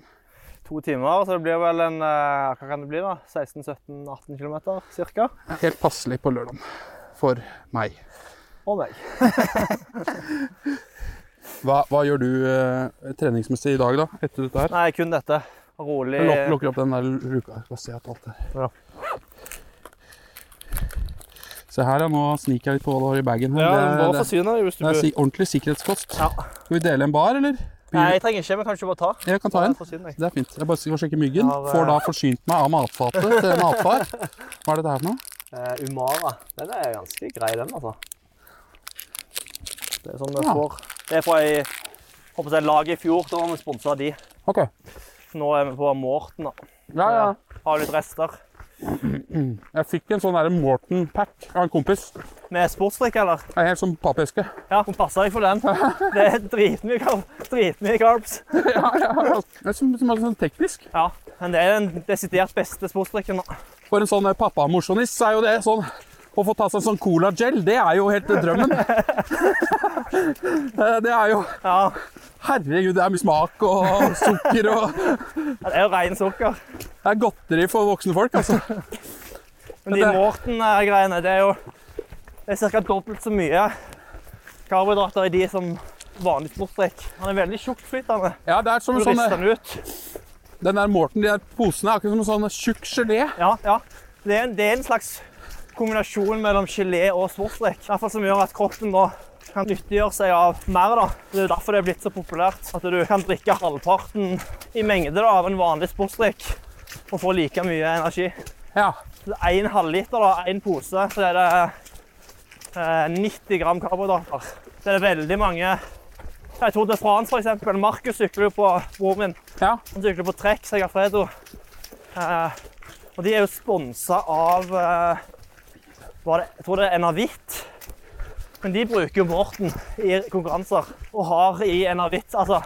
B: to timer, så det blir vel en eh, Hva kan det bli, da? 16-17-18 km cirka?
A: Helt passelig på lørdag for meg.
B: Og meg.
A: Hva, hva gjør du eh, treningsmessig i dag, da? Etter dette her?
B: Nei, kun dette. Rolig.
A: Lukk, lukker opp den der luka. her, Skal se at alt er
B: eh, Ja.
A: Se her, ja. Nå sniker jeg litt på hva du har i bagen. her.
B: Ja,
A: Det-
B: du må
A: det,
B: forsyne deg hvis du
A: det er
B: bør.
A: si- ordentlig sikkerhetskost.
B: Ja.
A: Skal vi dele en bar, eller?
B: Nei, jeg trenger ikke, men kanskje bare ta.
A: Jeg kan ta en.
B: Forsyne deg.
A: Det er fint. Jeg bare skal sjekke myggen.
B: Ja, det-
A: Får da forsynt meg av matfatet til matfar. Hva er dette her for noe?
B: Eh, Umara. Den er ganske grei, den, altså. Det er sånn vi
A: Ja.
B: får. Det er fra ei håper jeg, lag i fjor. Da var vi sponsa de.
A: Ok.
B: Nå er vi på Morten. da.
A: Ja, ja.
B: Har litt rester.
A: Jeg fikk en sånn der Morton-pack av en kompis. Det
B: Med sportsdrikk, eller?
A: er Helt sånn som pappeske.
B: Ja, passa deg for den. Det er dritmye kar- dritmye carbs.
A: Ja, ja. Det er som, som er sånn teknisk.
B: Ja, men det er den desidert beste sportsdrikken. da.
A: For en sånn eh, pappamosjonist så er jo det sånn Å få ta seg en sånn colagel, det er jo helt eh, drømmen. Eh, det er jo
B: Ja,
A: Herregud, det er mye smak og sukker og
B: det er jo ren sukker.
A: Det er godteri for voksne folk, altså.
B: Men de
A: Det-
B: Morten-greiene, det er jo det er ca. dobbelt så mye karbohydrater i de som vanlig sportsdrikk. Han er veldig tjukkflytende.
A: Ja, det er som
B: Du
A: en sånn
B: rister
A: eh,
B: den ut.
A: Den der Morten, de der posene, er akkurat som en sånn tjukk gelé.
B: Ja, ja. Det er en, det er en slags kombinasjon mellom gelé og sportsdrikk. I hvert fall som gjør at kroppen da kan nyttiggjøre seg av mer. da. Det er jo derfor det er blitt så populært. At du kan drikke halvparten i mengde da, av en vanlig sportsdrikk og få like mye energi.
A: Ja.
B: Så Én halvliter, da, én pose, så er det eh, 90 gram karbohydrater. Det er veldig mange. Jeg tror det er Frans, for eksempel. Markus sykler jo på broren min.
A: ja.
B: Han sykler på trekk, sier Fredo. Eh, og de er jo sponsa av eh, var det, Jeg tror det er Enavitt. Men de bruker jo Morten i konkurranser og har i Enavitt. Altså,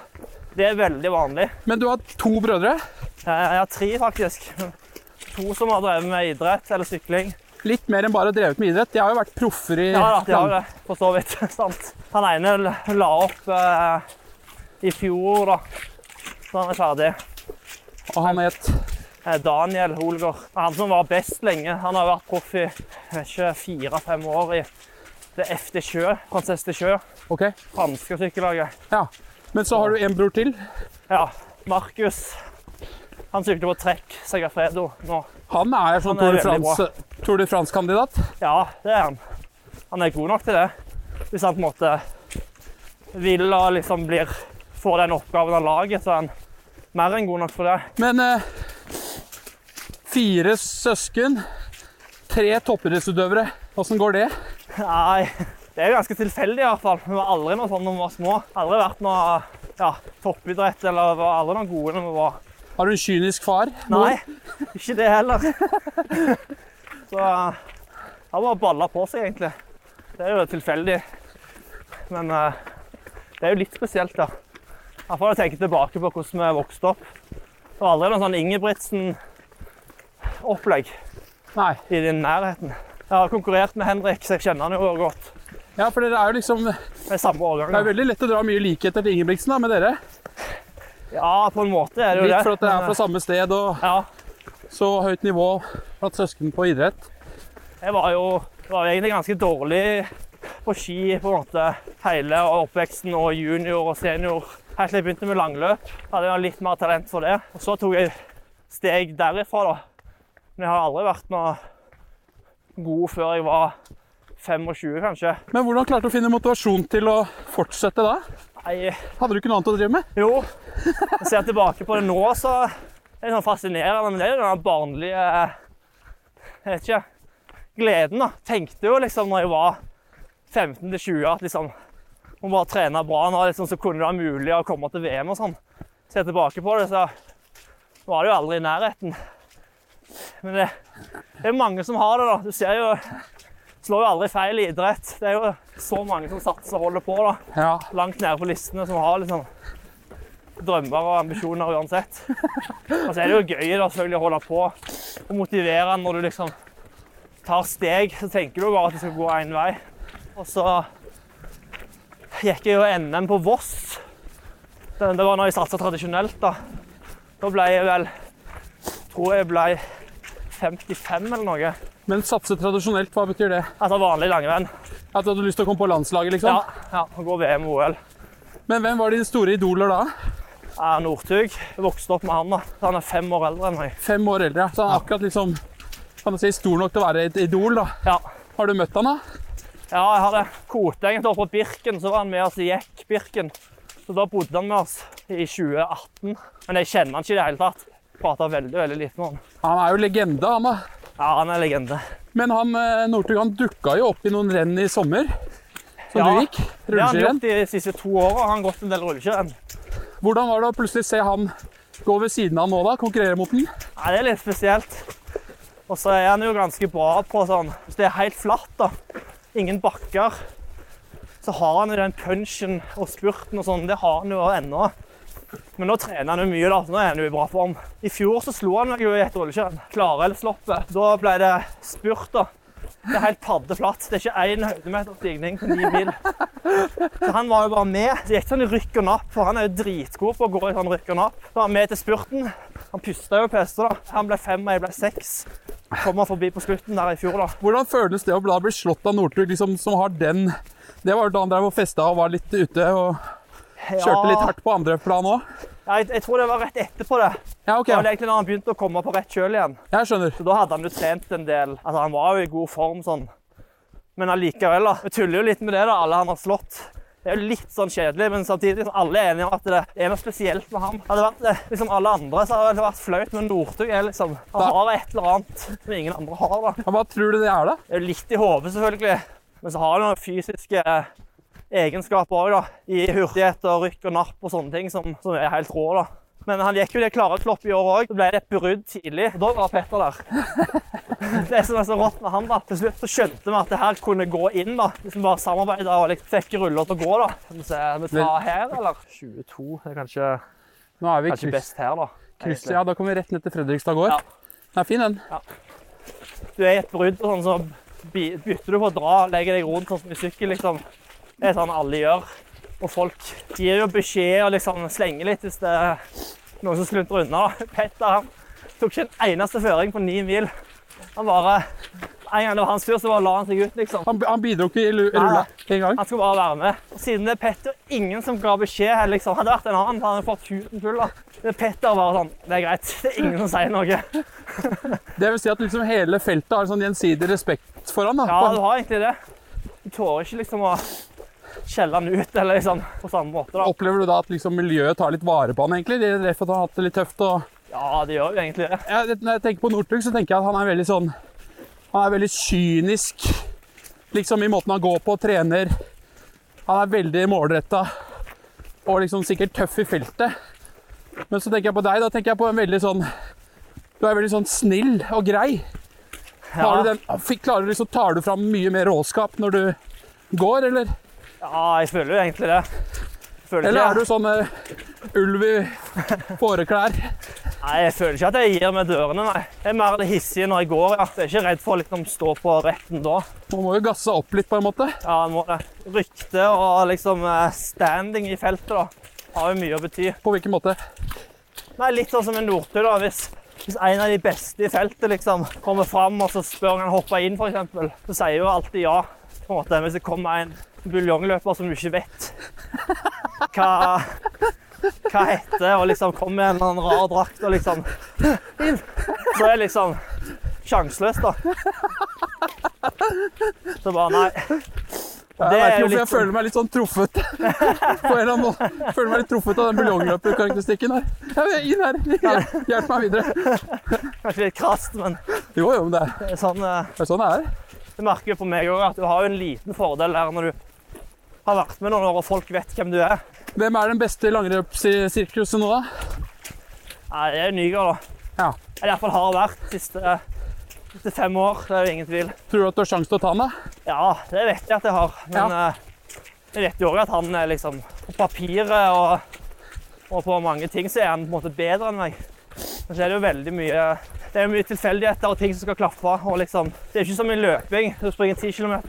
B: det er veldig vanlig.
A: Men du har to brødre.
B: Eh, Jeg har tre, faktisk. To som har drevet med idrett eller sykling.
A: Litt mer enn bare drevet med idrett. De har jo vært proffer i
B: Ja da, de har jo det, for så vidt. Sant. Han ene l- la opp eh, i fjor, da. Så han er ferdig.
A: Og han het
B: Eh, Daniel Holgaard. Han som var best lenge. Han har vært proff i jeg vet ikke fire-fem år i det F de Sjø, Frances de Sjø,
A: OK.
B: franske sykkellaget.
A: Ja. Men så har du en bror til.
B: Ja, Markus. Han sykler på trekk, Segafredo, nå.
A: Han er sånn
B: Han
A: Tour
B: er
A: de
B: veldig
A: France- Tour de France-kandidat.
B: Ja, det er han. Han er god nok til det. Hvis han på en måte vil og liksom blir, får den oppgaven av laget, så er han mer enn god nok for det.
A: Men eh, fire søsken, tre toppidrettsutøvere. Åssen går det?
B: Nei, det er jo ganske tilfeldig i hvert fall. Vi var aldri noe sånn når vi var små. Aldri vært noe ja, toppidrett, eller vi var aldri noe gode når vi var.
A: Har du en kynisk far?
B: Nei, ikke det heller. Så eh, han bare balla på seg egentlig. Det er jo tilfeldig. Men eh, det er jo litt spesielt da. I hvert fall å tenke tilbake på hvordan vi vokste opp. Det var aldri noe sånn Ingebrigtsen-opplegg
A: Nei.
B: i den nærheten. Jeg har konkurrert med Henrik, så jeg kjenner han jo godt.
A: Ja, for dere er jo liksom Det
B: Med samme årgang. da.
A: er veldig lett å dra mye likheter til Ingebrigtsen da, med dere.
B: Ja, på en måte er det jo det.
A: Litt for at dere er
B: Men, eh,
A: fra samme sted og
B: Ja,
A: så høyt nivå blant søsken på idrett.
B: jeg var jo var jo egentlig ganske dårlig på ski på en måte hele oppveksten og junior og senior. Helt til jeg begynte med langløp, hadde jeg litt mer talent for det. Og så tok jeg steg derifra, da. Men jeg har aldri vært noe god før jeg var 25, kanskje.
A: Men hvordan klarte du å finne motivasjon til å fortsette da?
B: Nei,
A: Hadde du ikke noe annet å drive med?
B: Jo, jeg ser tilbake på det nå, så er det sånn fascinerende. Men det er jo den barnlige eh, jeg vet ikke, gleden. da. Tenkte jo liksom når jeg var 15-20 at liksom må bare trene bra nå, liksom, så kunne det være mulig å komme til VM og sånn. Ser jeg tilbake på det, så var det jo aldri i nærheten. Men det, det er mange som har det, da. Du ser jo Slår jo aldri feil i idrett. Det er jo så mange som satser og holder på, da
A: Ja,
B: langt nede på listene som har liksom drømmer og ambisjoner uansett. Og så er det jo gøy da selvfølgelig å holde på og motivere når du liksom tar steg. Så tenker du jo bare at det skal gå én vei. Og så gikk jeg jo NM på Voss. Det det var når jeg satsa tradisjonelt, da. Da ble jeg vel Tror jeg ble 55 eller noe.
A: Men satse tradisjonelt, hva betyr det?
B: Altså vanlig langrenn.
A: At du hadde lyst til å komme på landslaget,
B: Ja,
A: liksom?
B: ja. og Gå VM og OL.
A: Men hvem var dine store idoler da?
B: Er Northug. Jeg Vokste opp med han. da. Han er fem år eldre enn meg.
A: Fem år eldre, ja. så han er akkurat liksom kan du si, stor nok til å være et idol. da.
B: Ja.
A: Har du møtt han da?
B: Ja, jeg hadde Koteng et år på Birken, så var han med oss i Jekk Birken. Så da bodde han med oss i 2018. Men jeg kjenner han ikke i det hele tatt. Prater veldig, veldig lite med han.
A: Han er jo legende, han da.
B: Ja, han er legende.
A: Men han eh, Northug han dukka jo opp i noen renn i sommer. Som
B: Ja,
A: du gikk.
B: Det har han
A: Rulleskirenn.
B: gjort de siste to årene. Han har gått en del rullekjøren.
A: Hvordan var det å plutselig se han gå ved siden av nå, da? Konkurrere mot den?
B: Ja, det er litt spesielt. Og så er han jo ganske bra på sånn Hvis det er helt flatt, da, ingen bakker, så har han jo den punchen og spurten og sånn. Det har han jo ennå. Men nå trener han jo mye, da. så Nå er han jo i bra form. I fjor så slo han meg jo i et rullekjøring. Klarelvsloppet. Da ble det spurt, da. Det er helt paddeflatt. Det er ikke én høydemeter stigning på ni mil. Så han var jo bare med. Så gikk sånn han i rykk og napp, og han er jo dritgod på å gå i sånn rykk og napp. Så var han med til spurten. Han pusta jo peste, da. Han ble fem, og jeg ble seks. Kom han forbi på slutten der i fjor, da.
A: Hvordan føles det å da bli slått av Northug, liksom, som har den Det var jo da han drev og festa og var litt ute og kjørte litt hardt på andre plan òg.
B: Ja, jeg, jeg tror det var rett etterpå det.
A: Ja, OK.
B: Det var egentlig når han begynte å komme på rett kjøl igjen.
A: Jeg skjønner.
B: Så da hadde han jo trent en del. Altså, han var jo i god form sånn. Men allikevel, da. Vi tuller jo litt med det, da, alle han har slått. Det er jo litt sånn kjedelig, men samtidig liksom, alle er enige om at det er noe spesielt med ham. Hadde det vært eh, liksom alle andre, så hadde det vært flaut, men Northug er liksom Han har et eller annet som ingen andre har, da.
A: Ja, Hva tror du det er, da?
B: Det er jo litt i hodet, selvfølgelig. Men så har han noen fysiske eh, egenskaper òg, da. I hurtighet og rykk og napp og sånne ting som, som er helt rå, da. Men han gikk jo det klare flopp i år òg. Så ble det et brudd tidlig. og Da var Petter der. Det som er så rått med han, da. Til slutt så skjønte vi at det her kunne gå inn, da. Hvis vi bare samarbeida og liksom fikk ruller til å gå, da. Skal vi se, vi tar her, eller? 22 er kanskje,
A: Nå er vi i
B: kanskje
A: kryss,
B: best her, da.
A: kryss,
B: egentlig.
A: ja, Da kommer vi rett ned til Fredrikstad gård.
B: Ja.
A: Den er fin, den.
B: du er i et brudd, og sånn, så by- bytter du på å dra, legger deg rundt sånn som i sykkel. Liksom. Det er sånn alle gjør. Og folk gir jo beskjed og liksom slenger litt hvis det er noen som sluntrer unna. da. Petter han tok ikke en eneste føring på ni mil. Han bare En gang det var hans tur, så bare la han seg ut, liksom.
A: Han, han bidro ikke i lu- rulla en gang.
B: Han skulle bare være med. Og siden det er Petter, ingen som ga beskjed her, liksom. Hadde det vært en annen, hadde han fått huden full. da. Men Petter bare sånn Det er greit. Det er ingen som sier noe.
A: Det vil si at liksom hele feltet har sånn gjensidig respekt for han. da.
B: Ja, du har egentlig det. Du tårer ikke liksom å skjelle den ut eller liksom, på samme måte. da.
A: Opplever du da at liksom miljøet tar litt vare på han egentlig? Det er rett for at han har hatt det litt tøft og...
B: Ja, det gjør jo egentlig det.
A: jeg, Når jeg tenker på Northug, så tenker jeg at han er veldig sånn... Han er veldig kynisk, liksom i måten han går på og trener. Han er veldig målrettet, og liksom sikkert tøff i feltet. Men så tenker jeg på deg, da tenker jeg på en veldig sånn... Du er veldig sånn snill og grei.
B: Ja,
A: Har du den, fikk- klarer du liksom, tar du fram mye mer råskap når du går, eller?
B: ja jeg føler jo egentlig det. Jeg Føler
A: Eller er
B: ikke,
A: du sånn eh, ulv i fåreklær?
B: Nei, jeg føler ikke at jeg gir meg dørene, nei. Jeg er mer det hissige når jeg går. ja. Jeg er ikke redd for å liksom, stå på retten da.
A: Man må jo gasse opp litt, på en måte.
B: Ja, han må det. Rykte og liksom eh, standing i feltet da, har jo mye å bety.
A: På hvilken måte?
B: Nei, litt sånn som en Northug, da. Hvis, hvis en av de beste i feltet liksom kommer fram og så spør han hoppe inn, f.eks., så sier jo alltid ja. på en måte. Hvis det kommer en buljongløper som du ikke vet hva, hva heter, og liksom kommer med en eller annen rar drakt og liksom inn, Så er jeg liksom sjanseløs, da. Så bare nei. Og
A: Jeg
B: det
A: vet
B: er
A: ikke
B: jo
A: hvorfor
B: litt
A: jeg føler meg litt sånn truffet. på en eller annen måte. Jeg føler meg litt truffet av den buljongløperkarakteristikken her. Ja, men Inn her! Hjelp- Hjelp meg videre.
B: kanskje litt krast, men
A: Jo, jo, men det er-
B: det er sånn eh,
A: det er sånn det er.
B: Du merker jo på meg òg at du har jo en liten fordel der når du har vært med noen år og folk vet hvem du er.
A: Hvem er den beste i langrennssirkuset nå, da?
B: Nei, det er jo Nygaard, da.
A: Ja.
B: Eller iallfall har vært de siste, siste fem år. Det er jo ingen tvil.
A: Tror du at du har sjanse til å ta han, da?
B: Ja, det vet jeg at jeg har. Men eh, jeg vet jo òg at han er liksom På papiret og, og på mange ting så er han på en måte bedre enn meg. Men så er det jo veldig mye Det er jo mye tilfeldigheter og ting som skal klaffe. og liksom, Det er ikke som i løping. Du springer 10 km,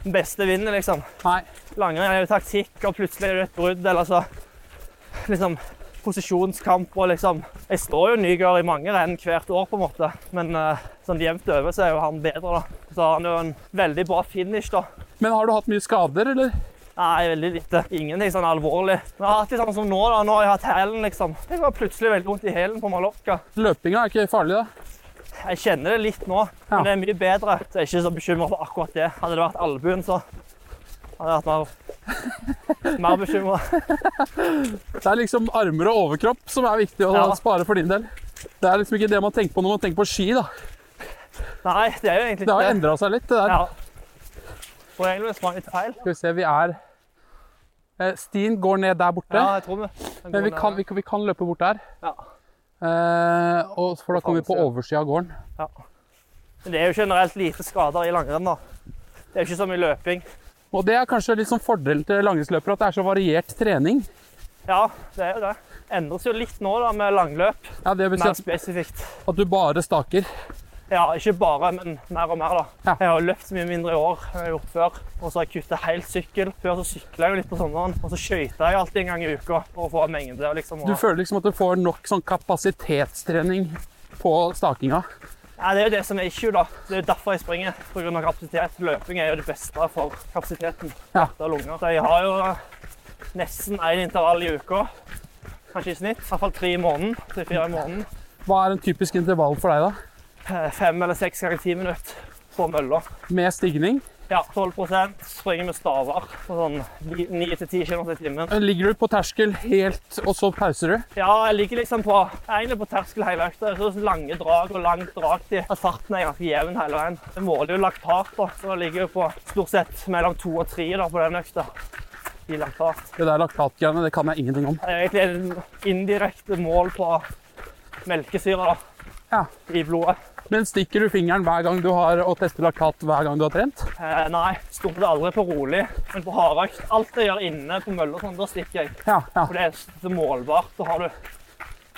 B: den beste vinner, liksom.
A: Nei.
B: langrenn er jo taktikk, og plutselig er det et brudd, eller så liksom posisjonskamp og liksom Jeg står jo Nygaard i mange renn hvert år, på en måte, men eh, sånn jevnt over så er jo han bedre, da. Så har han jo en veldig bra finish, da.
A: Men har du hatt mye skader, eller?
B: Nei, veldig lite. Ingenting sånn alvorlig. Men jeg har hatt litt sånn som nå, da. Nå har jeg hatt hælen, liksom. Jeg var plutselig veldig vondt i hælen på Mallorca.
A: Løpinga er ikke farlig, da?
B: Jeg kjenner det litt nå,
A: Ja.
B: men det er mye bedre. Så jeg er ikke så bekymra for akkurat det. Hadde det vært albuen, så hadde jeg vært mer, mer bekymra.
A: Det er liksom armer og overkropp som er viktig å
B: Ja.
A: spare for din del. Det er liksom ikke det man tenker på når man tenker på ski, da.
B: Nei, det er jo egentlig
A: Det har jo
B: ikke
A: endra seg litt, det der.
B: Ja. Og egentlig var det litt feil.
A: Skal vi se, vi er eh, Stien går ned der borte.
B: Ja, jeg tror vi. en
A: Men vi
B: god
A: kan, vi,
B: nærmere.
A: kan- vi kan løpe bort der.
B: Ja.
A: Eh, og, for da kommer vi på
B: Faen, så-
A: oversida av gården.
B: Men det er jo generelt lite skader i langrenn, da. Det er jo ikke så mye løping.
A: Og det er kanskje litt sånn fordelen til langrennsløpere, at det er så variert trening.
B: Ja, det er jo det. Endres jo litt nå da, med langløp,
A: Ja, Det betyr
B: mer
A: at,
B: spesifikt.
A: at du bare staker.
B: Ja, ikke bare, men mer og mer, da.
A: Ja.
B: Jeg har jo løpt så mye mindre i år enn jeg har gjort før. Og så har jeg kuttet helt sykkel. Før så sykla jeg jo litt på sommeren, og så skøyta jeg alltid en gang i uka for å få av mengde. og Liksom,
A: Du
B: og...
A: føler liksom at du får nok sånn kapasitetstrening på stakinga.
B: Ja, det er jo det som er issue, da. Det er jo derfor jeg springer. På grunn av kapasitet. Løping er jo det beste for kapasiteten.
A: Ja.
B: hjerte og lunger. Så jeg har jo nesten én intervall i uka. Kanskje i snitt. I hvert fall tre i måneden. Tre-fire i måneden.
A: Hva er en typisk intervall for deg, da?
B: Eh, Fem eller seks ganger ti minutter på mølla.
A: Med stigning?
B: Ja, 12 springer med staver på sånn ni- ni til ti kilometer i timen.
A: Eh, Ligger du på terskel helt, og så pauser du?
B: Ja, jeg ligger liksom på jeg er egentlig på terskel hele økta. Så sånn lange drag og langt dragtid. At farten er ganske jevn hele veien. Jeg måler jo laktat, da, så jeg ligger jo på stort sett mellom to og tre da, på den økta. I laktat.
A: Det der laktatgreiene, det kan jeg ingenting om.
B: Det er egentlig en indirekte mål på melkesyre da,
A: Ja.
B: i blodet.
A: Men stikker du fingeren hver gang du har å teste laktat hver gang du har trent?
B: Eh, nei, stort sett aldri på rolig, men på hardøkt. Alt jeg gjør inne på mølla, og sånn, da stikker jeg.
A: Ja, ja.
B: For det er så målbart. Da har du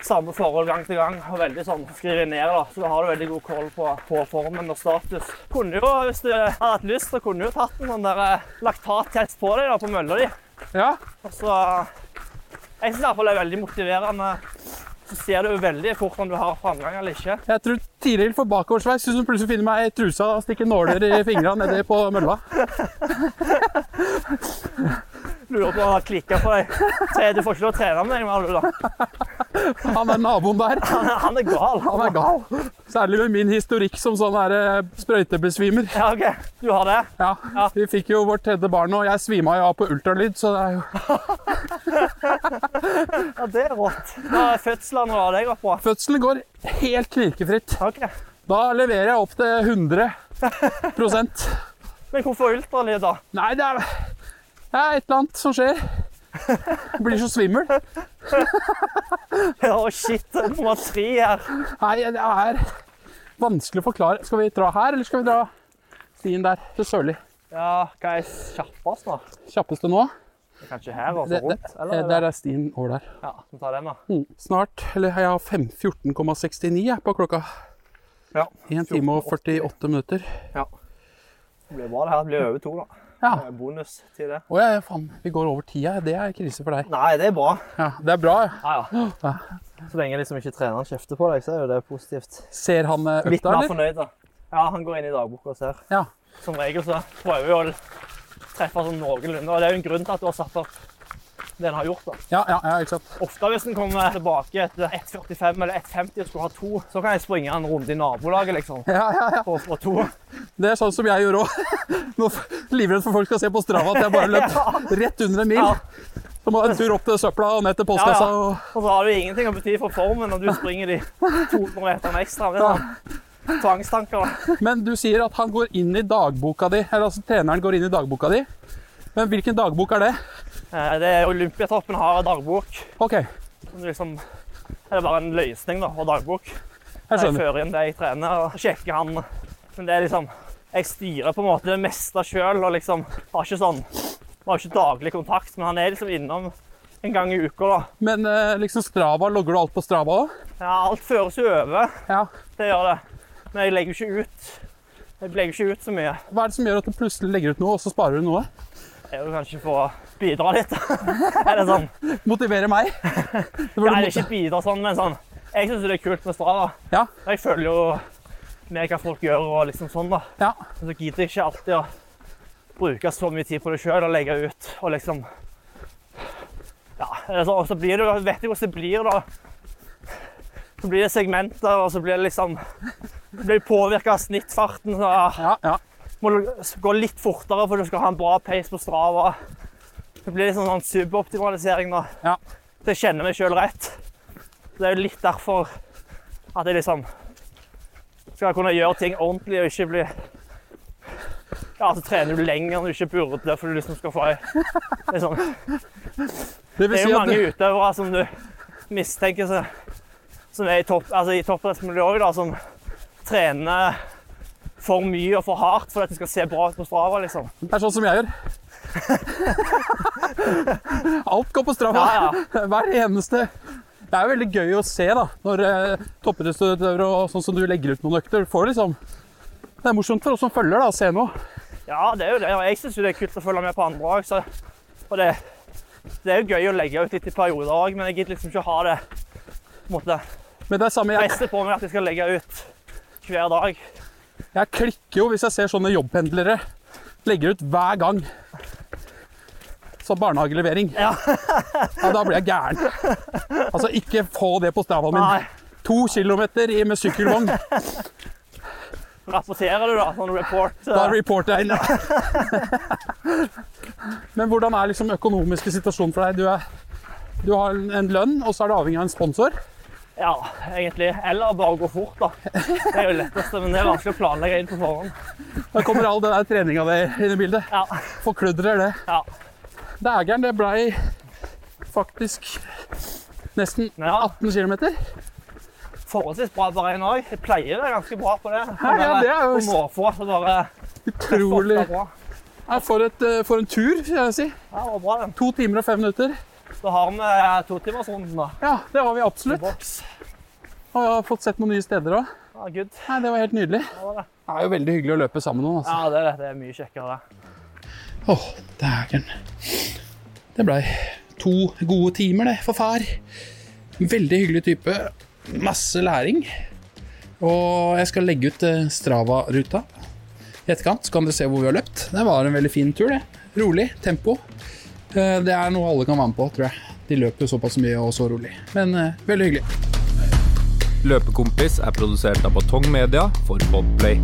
B: samme forhold gang til gang. og veldig sånn, skriver jeg ned da, Så da har du veldig god koll på, på formen og status. Kunne jo, Hvis du hadde hatt lyst, så kunne du jo tatt en sånn der, eh, laktattest på deg da, på mølla di.
A: ja.
B: Og så Jeg syns det er veldig motiverende. Så ser du jo veldig fort om du har framgang eller ikke.
A: Jeg tror Tiril får bakoversveis. Syns hun plutselig finner meg i trusa og stikker nåler i fingra nedi på mølla.
B: Lurer på om han har klikka på deg. Se, du får ikke lov å trene med deg mer, du, da.
A: Han er naboen der.
B: Han er, han er gal.
A: Han er gal. Særlig med min historikk som sånn her eh, sprøytebesvimer.
B: Ja, OK. Du har det?
A: Ja,
B: Ja.
A: Vi fikk jo vårt tredje barn, og jeg svima jo av på ultralyd, så det er jo
B: Ja, det er rått. Da er fødslene og det jeg var på.
A: Fødselen går helt knirkefritt.
B: OK.
A: Da leverer jeg opp til 100
B: Men hvorfor ultralyd, da?
A: Nei, det er, det er et eller annet som skjer. Jeg blir så svimmel.
B: Ja, shit. Nummer tre her.
A: Nei, det er vanskelig å forklare. Skal vi dra her, eller skal vi dra stien der til Sørli?
B: Ja, hva er kjappest, da?
A: Kjappeste nå?
B: Kanskje her og
A: Det,
B: så
A: det, eh,
B: rundt?
A: det,
B: Eller?
A: der er stien over der.
B: Ja, vi tar den, da.
A: Snart, eller jeg har fem- 14,69 jeg, på klokka.
B: Ja.
A: 1 time og 48 minutter.
B: Det blir bra, det her. Det blir over to, da.
A: Ja.
B: Det er Bonus til det.
A: Å ja, ja, faen. Vi går over tida. Det er krise for deg.
B: Nei, det er bra.
A: Ja, Det er bra. ja.
B: Ja, ja. Så lenge liksom ikke treneren kjefter på deg, så er jo det positivt.
A: Ser han eh,
B: Litt
A: økta,
B: mer
A: eller?
B: fornøyd, da. Ja, han går inn i dagboka og ser.
A: Ja.
B: Som regel så prøver vi å treffe sånn noenlunde, og det er jo en grunn til at du har satt opp det en har gjort. da.
A: Ja, ja, ja, ikke sant.
B: Ofte hvis en kommer tilbake etter 1,45 eller 1,50 og skulle ha to, så kan jeg springe en runde i nabolaget, liksom.
A: Ja, ja, ja.
B: For å få to.
A: Det er sånn som jeg gjorde òg. Livredd for folk skal se på Strava at jeg bare løp rett under en mil.
B: Ja.
A: Så må jeg en tur opp til søpla og ned til postkassa.
B: Ja,
A: og...
B: Og så har det jo ingenting å bety for formen når du springer de 200 meterne ekstra. Det er sånn tvangstanker. da.
A: Men du sier at han går inn i dagboka di, eller altså treneren går inn i dagboka di. Men hvilken dagbok er det?
B: Eh, Det er Olympiatoppen har en dagbok.
A: Ok,
B: som Liksom, det er bare en løsning da, for dagbok.
A: jeg
B: Jeg
A: skjønner.
B: fører inn det jeg trener og sjekker han. Men det er liksom Jeg styrer på en måte det meste sjøl og liksom har ikke sånn Vi har ikke daglig kontakt, men han er liksom innom en gang i uka, da.
A: Men eh, liksom Strava, logger du alt på Strava òg?
B: Ja, alt føres jo over.
A: Ja.
B: Det gjør det. Men jeg legger jo ikke ut. Jeg legger jo ikke ut så mye.
A: Hva er det som gjør at du plutselig legger ut noe, og så sparer du noe?
B: er jo kanskje for å bidra litt. Eller sånn.
A: Motivere meg. Det burde
B: Ja,
A: mot-
B: eller ikke bidra sånn, men sånn. Jeg syns det er kult med Strava.
A: Ja.
B: Jeg følger jo med hva folk gjør og liksom sånn, da.
A: Ja.
B: Men så gidder jeg ikke alltid å bruke så mye tid på det sjøl og legge ut og liksom Ja. altså, Og så blir det jo Vet jeg hvordan det blir, da. Så blir det segmenter, og så blir det liksom så Blir påvirka av snittfarten. Så ah.
A: Ja, ja.
B: må du gå litt fortere for du skal ha en bra pace på Strava. Det blir litt sånn sånn suboptimalisering da.
A: Ja.
B: Så jeg kjenner meg sjøl rett. Det er jo litt derfor at jeg liksom skal kunne gjøre ting ordentlig og ikke bli Ja, så trener du lenger enn du ikke burde for du liksom skal få ei det er sånn-
A: Det vil
B: Det er
A: si
B: jo
A: at
B: mange
A: du,
B: utøvere som du mistenker seg Som er i, topp, altså i toppidrettsmiljøet, da, som trener for mye og for hardt for at det skal se bra ut på Strava, liksom.
A: det er sånn som jeg gjør. Alt går på strava.
B: Ja, ja.
A: Hver eneste. Det er jo veldig gøy å se da, når eh, toppidrettsutøvere og sånn som du legger ut noen økter, får liksom Det er morsomt for oss som følger da, å se noe.
B: ja, det er jo det. og Jeg syns jo det er kult å følge med på andre òg, så Og det, det er jo gøy å legge ut litt i perioder òg, men jeg gidder liksom ikke ha det på en måte,
A: Men det er samme, jeg,
B: presset på meg at jeg skal legge ut hver dag.
A: jeg klikker jo hvis jeg ser sånne jobbpendlere legger ut hver gang. Som barnehagelevering.
B: Ja.
A: Ja, da blir jeg gæren. Altså, ikke få det på stravaen min.
B: Nei.
A: To kilometer i- med sykkelvogn.
B: Rapporterer du, da? Sånn report?
A: Da
B: eh,
A: reporter jeg inn. ja. Men hvordan er liksom økonomiske situasjonen for deg? Du, er, du har en- en lønn, og så er du avhengig av en sponsor.
B: Ja, egentlig. Eller bare gå fort, da. Det er jo letteste, men det er vanskelig å planlegge inn på forhånd.
A: Da kommer all den der treninga di inn i bildet.
B: Ja,
A: Forkludrer det.
B: ja.
A: Dægeren, det blei faktisk nesten
B: Men ja,
A: 18 km.
B: forholdsvis bra beregn òg. Jeg pleier det ganske bra på det. eh,
A: Ja, ja, det er jo
B: På måfå så bare treffer ofte
A: utrolig
B: bra.
A: Nei, for, et, eh, for en tur, vil jeg si.
B: Ja, det var bra, den.
A: To timer og fem minutter.
B: Da har vi eh, totimersrunden, da.
A: Ja, det har vi
B: I
A: absolutt.
B: boks.
A: Og jeg har fått sett noen nye steder òg.
B: Ja, good.
A: Det var helt nydelig.
B: Det var det.
A: Det er jo veldig hyggelig å løpe sammen med noen. altså.
B: Ja, det er det. Det er mye kjekkere.
A: Åh, dægeren. Det blei to gode timer, det, for far. Veldig hyggelig type. Masse læring. Og jeg skal legge ut eh, Strava-ruta i etterkant, så kan dere se hvor vi har løpt. Det var en veldig fin tur, det. Rolig tempo. Eh, Det er noe alle kan være med på, tror jeg. De løper jo såpass mye og så rolig. Men eh, veldig hyggelig.
C: Løpekompis er produsert av Batong Media for Podplay.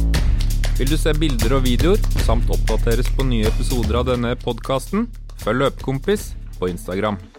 C: Vil du se bilder og videoer, samt oppdateres på nye episoder av denne podkasten, følg Løpekompis på Instagram.